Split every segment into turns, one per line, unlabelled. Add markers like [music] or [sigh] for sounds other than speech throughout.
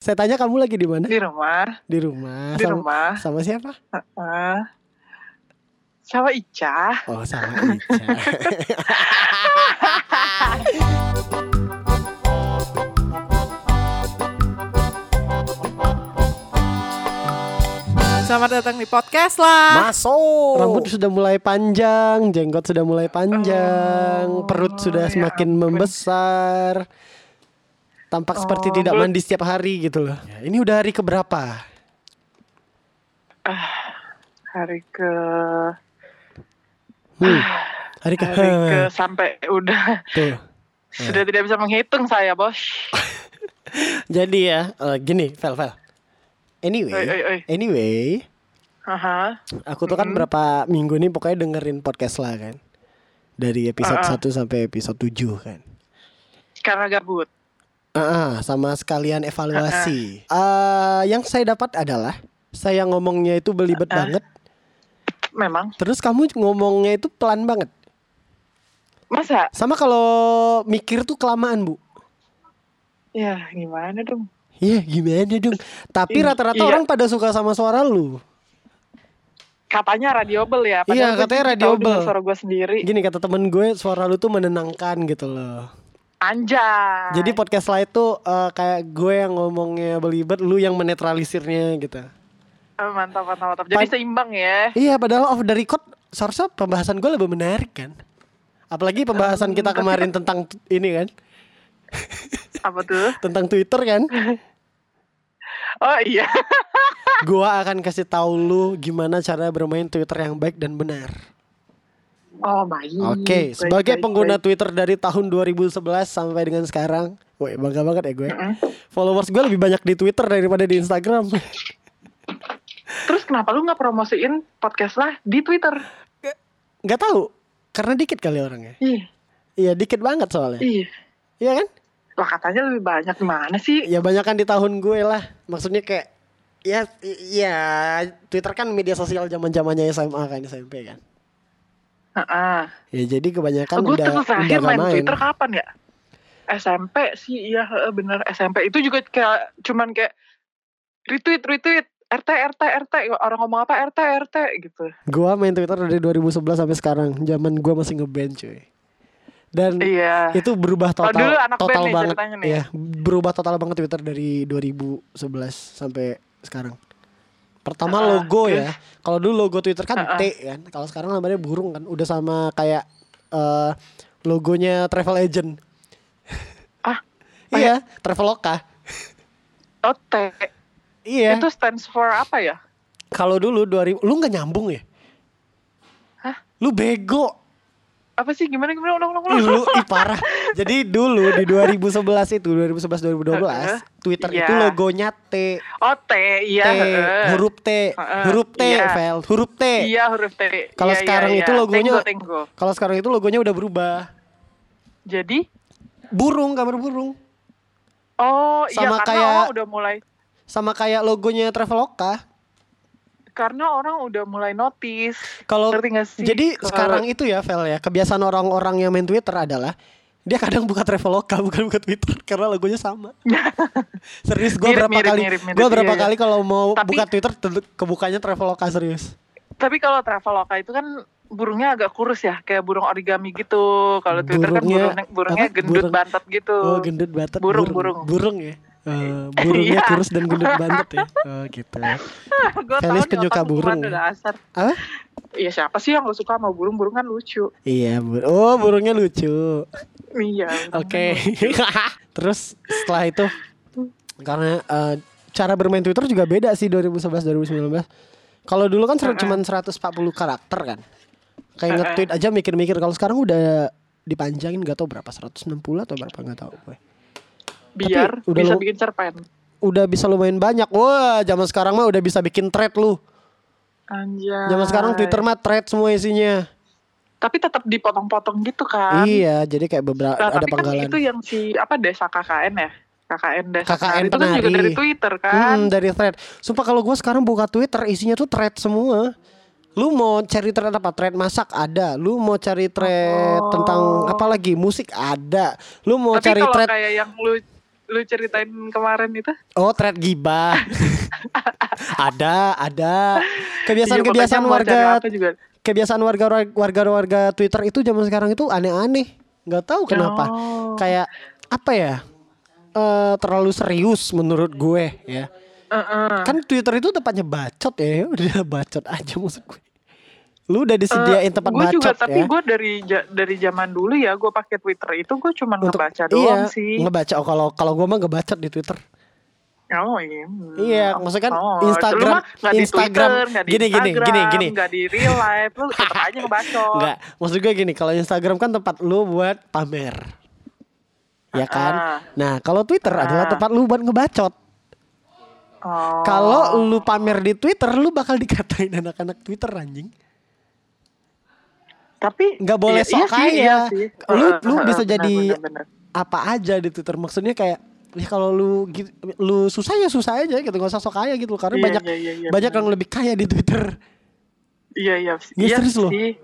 Saya tanya kamu lagi di mana?
Di rumah,
Di rumah.
di
sama,
rumah.
sama siapa?
Heeh. Sama Ica.
Oh,
[laughs]
sama Ica.
Selamat datang di podcast lah.
Masuk.
Oh.
Rambut sudah mulai panjang, jenggot sudah mulai panjang,
Oh,
perut sudah
ya
semakin
ampun.
membesar. Tampak seperti
Oh,
tidak
perut.
mandi setiap hari gitu loh. Ya, ini udah hari keberapa?
Hari ke
Hmm. Hari ke, Eh.
hari ke sampai udah
[laughs] Tuh.
sudah tidak bisa menghitung saya, Bos.
Jadi ya, eh, gini, Vel, Vel. Anyway,
Oi, oi, oi.
anyway,
Haha.
aku tuh kan berapa minggu nih pokoknya dengerin podcast lah kan. Dari episode
Ah, ah.
1 sampai episode 7 kan.
Karena gabut.
Ah, ah, sama sekalian evaluasi. Eh yang saya dapat adalah saya ngomongnya itu belibet banget,
Memang.
terus kamu ngomongnya itu pelan banget.
Masa?
Sama kalau mikir tuh kelamaan, Bu.
Ya, gimana dong?
Iya, gimana dong? Tapi
I-
rata-rata
iya.
orang pada suka sama suara lu.
Katanya radioable ya. padahal
Iya,
gua
katanya
jadi tahu dengan
radioable.
Suara gue sendiri.
Gini kata temen gue, suara lu tuh menenangkan gitu loh.
Anjay.
Jadi podcast lain tuh eh, kayak gue yang ngomongnya belibet, lu yang menetralisirnya gitu.
Oh, mantap, mantap, mantap. Jadi
Pan-
seimbang ya.
Iya, padahal off the record seharusnya pembahasan gue lebih menarik kan. Apalagi pembahasan kita kemarin tentang t- ini kan,
Apa tuh?
tentang Twitter kan.
Oh iya.
Gua akan kasih tahu lu gimana cara bermain Twitter yang baik dan benar.
Oh, baik.
Oke,
Baik,
sebagai
baik,
pengguna
baik.
Twitter dari tahun 2011 sampai dengan sekarang, woi bangga banget ya gue.
Mm-mm.
Followers gue lebih banyak di Twitter daripada di Instagram.
Terus kenapa lu nggak promosiin podcast lah di Twitter?
Gak tahu, karena dikit kali orangnya.
Ih,
Iya, dikit banget soalnya.
ih.
Iya kan?
Lah katanya lebih banyak mana sih?
ya banyak kan di tahun gue lah maksudnya kayak ya i- ya Twitter kan media sosial zaman zamannya SMA kan SMP kan
Heeh.
ya jadi kebanyakan
Gue
udah
tuh
udah
terakhir
gak
main, Twitter kapan ya? SMP sih, iya heeh, bener SMP. Itu juga kayak cuman kayak retweet, retweet. RT, RT, RT. Orang ngomong apa RT, RT gitu.
gue main Twitter dari 2011 sampai sekarang zaman gue masih ngeband cuy dan
Iya.
itu berubah
Kalau
total
dulu anak band
total
nih
banget
ceritanya nih.
ya berubah total banget Twitter dari 2011 sampai sekarang pertama
Ah,
logo
terus?
ya kalau dulu logo Twitter kan
Ah, ah.
T kan kalau sekarang namanya burung kan udah sama kayak eh, logonya travel agent
Ah,
iya traveloka
Oh, T.
iya
Itu stands for apa ya?
kalau dulu 2000 lu nggak nyambung ya
Hah?
lu bego
Apa sih? Gimana, gimana? Ulang, ulang, ulang.
dulu ih parah. Jadi dulu di 2011 itu 2011
Heeh.
2012 Twitter itu
Iya.
logonya T
Oh, T. Iya.
T
heeh.
huruf T
Heeh,
huruf T
iya.
Vel huruf T.
Iya, huruf T.
Kalau
Iya, iya,
sekarang
iya.
itu logonya
Tenggo, tenggo.
kalau sekarang itu logonya udah berubah.
Jadi
Burung gambar burung
Oh iya
Sama
karena
kayak-
orang udah mulai
sama kayak logonya Traveloka.
karena orang udah mulai notice.
Kalau
Ngerti nggak sih?
jadi
Kalau-
sekarang itu ya Vel ya kebiasaan orang-orang yang main Twitter adalah dia kadang buka Traveloka [laughs] bukan buka Twitter karena logonya
[laughs]
sama. serius gue
Mirip,
berapa
mirip,
kali
mirip, mirip,
gue berapa
iya, iya.
kali kalau mau
Tapi-
buka Twitter tentu- kebukanya Traveloka serius.
tapi kalau Traveloka itu kan burungnya agak kurus ya, kayak burung origami gitu. Kalau Twitter kan
Burungnya-
burungnya, burungnya
apa?
gendut
Burung-
bantet gitu.
Oh gendut banget
Burung, burung.
Burung ya Eh, Burungnya
[laughs] Iya.
kurus dan gendut banget ya Oh gitu
[laughs] Gua tahu
Felis
nih
penyuka
otak lu
burung
kemana
ya?
dasar.
Apa?
Iya siapa sih yang gak suka sama burung? Burung kan lucu.
Iya bur Oh burungnya lucu
Iya. burung
Oke [laughs]
kan
Terus setelah itu Karena eh, Cara bermain Twitter juga beda sih 2011-2019 Kalau dulu kan ser- cuman 140 karakter kan Kayak nge-tweet aja mikir-mikir Kalau sekarang udah dipanjangin gak tau berapa 160 atau berapa gak tau gue
lucu. Biar
Tapi udah
bisa
lu-
bikin cerpen.
Udah bisa lumayan banyak Wah zaman sekarang mah udah bisa bikin thread lu
Anjay.
Zaman sekarang Twitter mah thread semua isinya.
Tapi tetap dipotong-potong gitu kan.
Iya, jadi kayak beberapa
Nah,
ada
tapi
penggalan.
kan itu yang si apa desa KKN ya? KKN desa
KKN
itu kan juga
penari.
dari Twitter kan.
Hmm, dari thread. Sumpah kalau gue sekarang buka Twitter isinya tuh thread semua. Lu mau cari thread apa? Thread masak ada. Lu mau cari thread
Oh.
tentang apa lagi? Musik ada. Lu mau
tapi
cari
kalau
thread
kayak yang lu lu ceritain kemarin itu?
Oh, thread
[laughs]
gibah. ada, ada. Kebiasaan-kebiasaan
Iya, makanya mau
warga
cari apa juga.
kebiasaan warga warga warga Twitter itu zaman sekarang itu aneh-aneh. Nggak tahu kenapa.
Oh.
Kayak apa ya? Eh, terlalu serius menurut gue ya.
Heeh.
Kan Twitter itu tempatnya bacot ya. [laughs] Udah bacot aja maksud gue. Lu udah disediain Iya, tempat
gue
bacot
Eh, juga tapi
ya.
gue dari ja- dari zaman dulu ya gue pakai Twitter itu gue cuma
iya,
ngebaca doang sih.
ngebaca. Oh, kalau kalau gue mah ngebacot di Twitter.
Oh iya. Hmm.
Iya, maksudnya kan
Oh,
Instagram-
lu mah nggak di
Instagram.
Twitter, nggak di
Gini, gini,
Instagram,
gini, gini.
nggak di real life, lu tetap
[laughs]
aja ngebacot.
Enggak, maksud gue gini, kalau Instagram kan tempat lu buat pamer. Ya kan?
Ah.
Nah, kalau Twitter adalah
Ah.
tempat lu buat ngebacot.
Oh.
Kalau lu pamer di Twitter, lu bakal dikatain anak-anak Twitter anjing.
tapi
Nggak boleh
iya- iya
sok
sih,
kaya.
iya sih.
Lu-
Heeh,
lu
heeh,
bisa
benar,
jadi-
benar, benar.
Apa aja di Twitter maksudnya kayak ya kalau lu gi- lu susah ya susah aja gitu, gak usah sok kaya gitu karena
Iya,
banyak
iya, iya, iya,
banyak
benar.
yang lebih kaya di Twitter.
Iya iya
Iya,
iya
serius loh.
sih.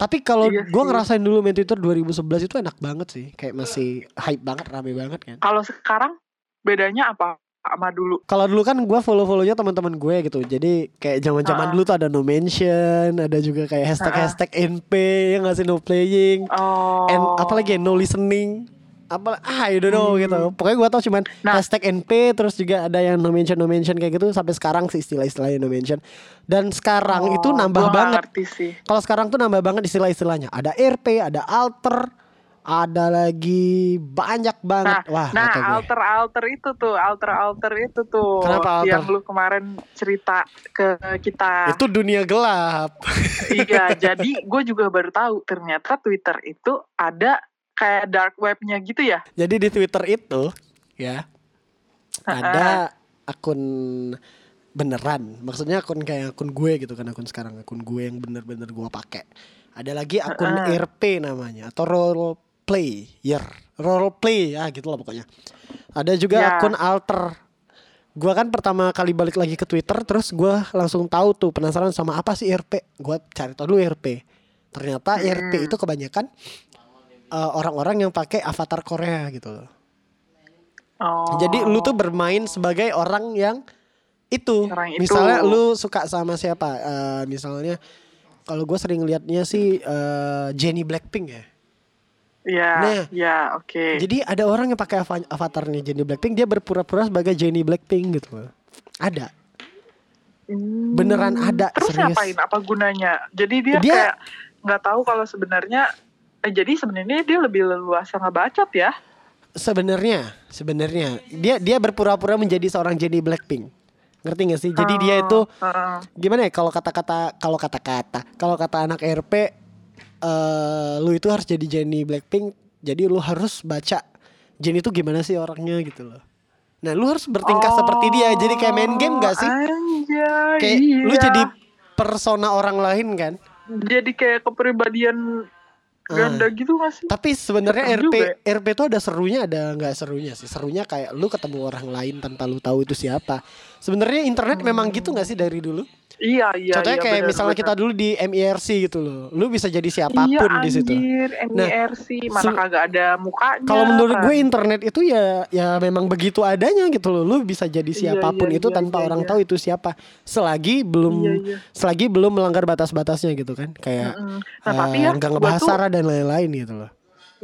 Tapi kalau
Iya
gua
sih.
ngerasain dulu main Twitter 2011 itu enak banget sih, kayak masih hype banget, rame banget kan.
Kalau sekarang bedanya apa sama dulu?
Kalau dulu kan gue follow-follownya teman-teman gue gitu. Jadi kayak zaman-zaman
Ah.
dulu tuh ada no mention, ada juga kayak hashtag-hashtag NP yang ngasih ya no playing,
Oh.
and apalagi ya, no listening. Apa ah you don't know
Hmm.
gitu. Pokoknya gue tau cuman
Nah.
hashtag NP terus juga ada yang no mention no mention kayak gitu sampai sekarang sih istilah-istilahnya no mention. Dan sekarang itu
Oh,
nambah
gua nggak
banget.
ngerti sih.
Kalau sekarang tuh nambah banget istilah-istilahnya. Ada RP, ada alter, ada lagi banyak banget. Wah, kata
Nah,
gue.
alter alter itu tuh, alter alter itu tuh
Kenapa alter?
yang lu kemarin cerita ke kita.
Itu dunia gelap. [laughs]
Iya, jadi gue juga baru tahu ternyata Twitter itu ada kayak dark webnya gitu ya.
Jadi di Twitter itu ya ada akun beneran. Maksudnya akun kayak akun gue gitu kan akun sekarang akun gue yang bener-bener gue pakai. Ada lagi akun RP namanya atau role player, role play ya gitu lah pokoknya. Ada juga
Ya.
akun alter. Gue kan pertama kali balik lagi ke Twitter terus gue langsung tahu tuh penasaran sama apa sih RP. Gue cari tahu dulu RP. Ternyata RP
Hmm.
itu kebanyakan eh, orang-orang yang pakai avatar Korea gitu loh.
Oh.
Jadi lu tuh bermain sebagai orang yang itu.
Orang itu.
Misalnya lu suka sama siapa? Eh, misalnya kalau gue sering liatnya sih eh, Jennie Blackpink ya.
Iya,
Nah.
iya, oke.
Jadi ada orang yang pakai ava- avatarnya Jennie Blackpink, dia berpura-pura sebagai Jennie Blackpink gitu loh. Ada.
Hmm.
Beneran ada
Terus
serius.
ngapain? Apa gunanya? Jadi dia,
Dia-
kayak nggak tahu kalau sebenarnya eh, jadi sebenarnya dia lebih leluasa ngebacot ya.
Sebenarnya, sebenarnya dia dia berpura-pura menjadi seorang Jennie Blackpink. Ngerti gak sih? Jadi dia itu
Heeh.
gimana ya kalau kata-kata kalau kata-kata kalau kata anak RP eh lu itu harus jadi Jenny Blackpink jadi lu harus baca Jenny itu gimana sih orangnya gitu loh nah lu harus bertingkah seperti dia jadi kayak main game gak sih
Anjay,
kayak lu
Oh, iya.
jadi persona orang lain kan
jadi kayak kepribadian
Eh.
ganda gitu gak sih?
tapi sebenarnya
Serem
RP
juga ya?
RP itu ada serunya ada nggak serunya sih serunya kayak lu ketemu orang lain tanpa lu tahu itu siapa sebenarnya internet memang gitu nggak sih dari dulu
Iya, iya,
contohnya
iya,
kayak
Hmm. benar,
misalnya
benar.
kita dulu di MIRC gitu loh lu bisa jadi siapapun
iya,
di situ
anjir,
Nah,
MIRC, mana
se-
kagak ada mukanya.
Kalau menurut
kan.
gue internet itu ya ya memang begitu adanya gitu loh. Lu bisa jadi
Iya,
siapapun
iya,
itu
iya,
tanpa
iya,
orang
iya.
tahu itu siapa. Selagi belum
Iya, iya.
selagi belum melanggar batas-batasnya gitu kan. Kayak
Mm-mm.
eh,
Nah, tapi ya,
nggak
gua
ngebahas
tuh-
sara dan lain-lain gitu loh.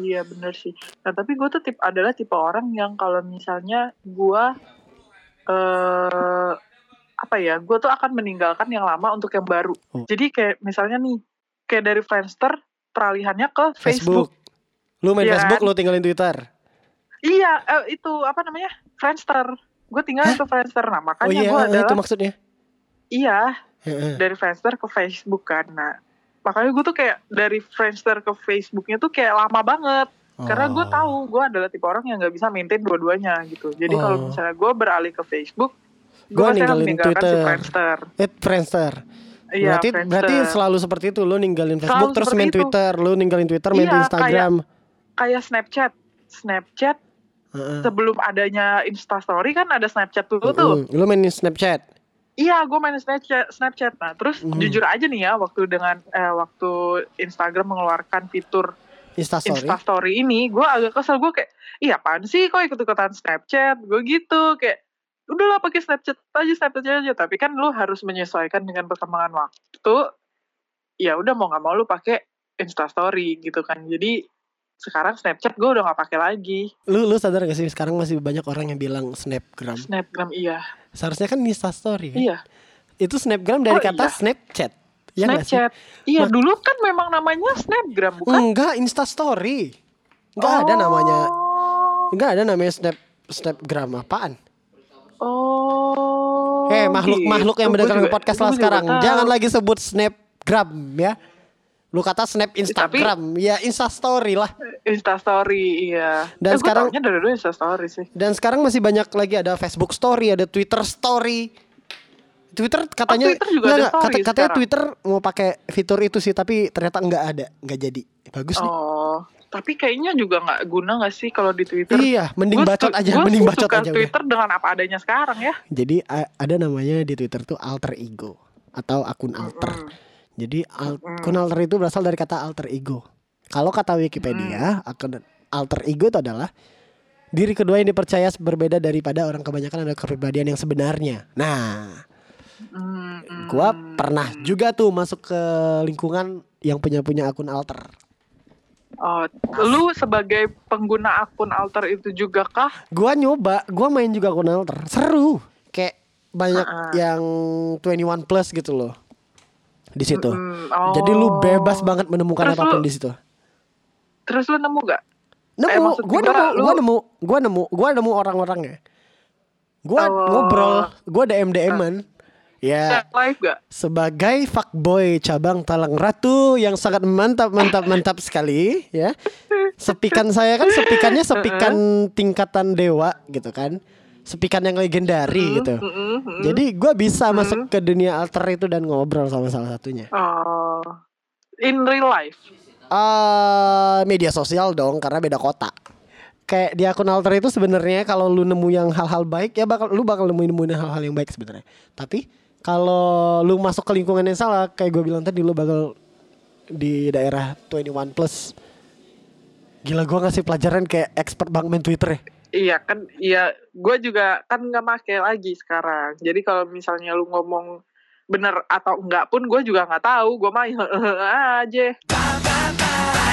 Iya, benar sih. Nah, tapi gue tuh tip, adalah tipe orang yang kalau misalnya gue... eh apa ya, gue tuh akan meninggalkan yang lama untuk yang baru.
Oh.
Jadi kayak misalnya nih, kayak dari Friendster, peralihannya ke Facebook.
Facebook. Lu main
Iya
Facebook
kan?
lu tinggalin Twitter.
Iya, eh, itu apa namanya? Friendster. Gue tinggal
Hah?
ke Friendster. Nah,
Oh
makanya
iya,
gue
eh, itu
adalah
maksudnya.
iya
Heeh.
dari Friendster ke Facebook kan. Nah, makanya gue tuh kayak dari Friendster ke Facebooknya tuh kayak lama banget. Karena gue
Oh.
tahu gue adalah tipe orang yang nggak bisa maintain dua-duanya gitu. Jadi kalau
Oh.
misalnya gue beralih ke Facebook, gue
Gua
pasti akan
ninggalin
meninggalkan si
Twitter.
Friendster.
Eh Friendster.
Iya,
berarti
Friendster.
berarti selalu seperti itu lu ninggalin
Selalu
Facebook terus
seperti
main
itu.
Twitter, lu ninggalin Twitter main
Iya,
Instagram.
kayak Snapchat. Snapchat
Heeh.
sebelum adanya Instastory kan ada Snapchat dulu tuh.
Mm-mm. Lu main Snapchat.
Iya, gue main Snapchat. Snapchat. Nah, terus
Hmm.
jujur aja nih ya, waktu dengan eh, waktu Instagram mengeluarkan fitur
Instastory.
Instastory ini gue agak kesel gue kayak iya apaan sih kok ikut ikutan Snapchat gue gitu kayak udahlah pakai Snapchat aja Snapchat aja tapi kan lu harus menyesuaikan dengan perkembangan waktu ya udah mau nggak mau lu pakai Instastory gitu kan jadi sekarang Snapchat gue udah nggak pakai lagi
Lu lu sadar gak sih sekarang masih banyak orang yang bilang snapgram.
Snapgram iya
Seharusnya kan Instastory kan?
iya
Itu snapgram dari
Oh,
kata
iya.
Snapchat. Iya nggak sih?
Snapchat iya
Mak-
dulu kan memang namanya Snapgram bukan
Enggak Instastory. Enggak Hmm, ada namanya.
Oh.
Enggak ada namanya snap snapgram apaan?
Oh.
Eh makhluk-makhluk yang
gitu.
mendengarkan
Gua juga-
podcast
gua
lah
juga
sekarang
tahu.
Jangan lagi sebut snapgram ya Lu kata snap instagram Ya instastory lah
Instastory iya.
Dan
eh,
sekarang-
gue dari dulu Instastory sih.
Dan sekarang masih banyak lagi ada Facebook story Ada Twitter story Twitter katanya
Oh, Twitter juga ada story
kata- Katanya
sekarang.
Twitter mau pakai fitur itu sih Tapi ternyata enggak ada Enggak jadi Bagus nih
Oh, tapi kayaknya juga nggak guna nggak sih kalau di Twitter?
Iya mending
Gua
bacot
su-
aja
gua
Mending
sih
bacot
suka
aja udah.
Twitter dengan apa adanya sekarang ya.
Jadi a- ada namanya di Twitter tuh alter ego Atau akun alter
Mm.
Jadi al- akun alter itu berasal dari kata alter ego. Kalau kata Wikipedia,
Mm.
akun alter ego itu adalah diri kedua yang dipercaya berbeda daripada orang kebanyakan ada kepribadian yang sebenarnya. Nah,
Mm, mm.
gua pernah juga tuh masuk ke lingkungan yang punya punya akun alter.
Oh, lu sebagai pengguna akun alter itu juga kah?
Gua nyoba, gua main juga akun alter. Seru. Kayak banyak
Ah, ah.
yang 21 plus gitu loh. Di situ.
Mm, oh.
Jadi lu bebas banget menemukan
Terus lu-
apapun di situ.
Terus lu nemu gak? Eh,
nemu
maksud
gue
gua,
nemu
lu-
gue nemu gue nemu gue nemu orang-orangnya gue
Oh. Eh.
ngobrol gue dm dman ya
Live gak?
sebagai fuckboy cabang Talang Ratu yang sangat mantap
[laughs]
mantap mantap sekali ya sepikan saya kan
[laughs]
sepikannya sepikan tingkatan dewa gitu kan sepikan yang legendaris gitu
Mm, mm.
jadi gue bisa
Hmm.
masuk ke dunia alter itu dan ngobrol sama salah satunya
Oh, in real life.
eh media sosial dong karena beda kota. Kayak di akun alter itu sebenarnya kalau lu nemu yang hal-hal baik ya bakal lu bakal nemuin nemuin hal-hal yang baik sebenarnya. Tapi kalau lu masuk ke lingkungan yang salah kayak gue bilang tadi lu bakal di daerah 21 plus. Gila gue ngasih pelajaran kayak expert banget main Twitter ya.
Iya kan, iya. Gue juga kan nggak make lagi sekarang. Jadi kalau misalnya lu ngomong [laughs] ah, bener atau enggak pun gue juga nggak tahu. Gue mah aja.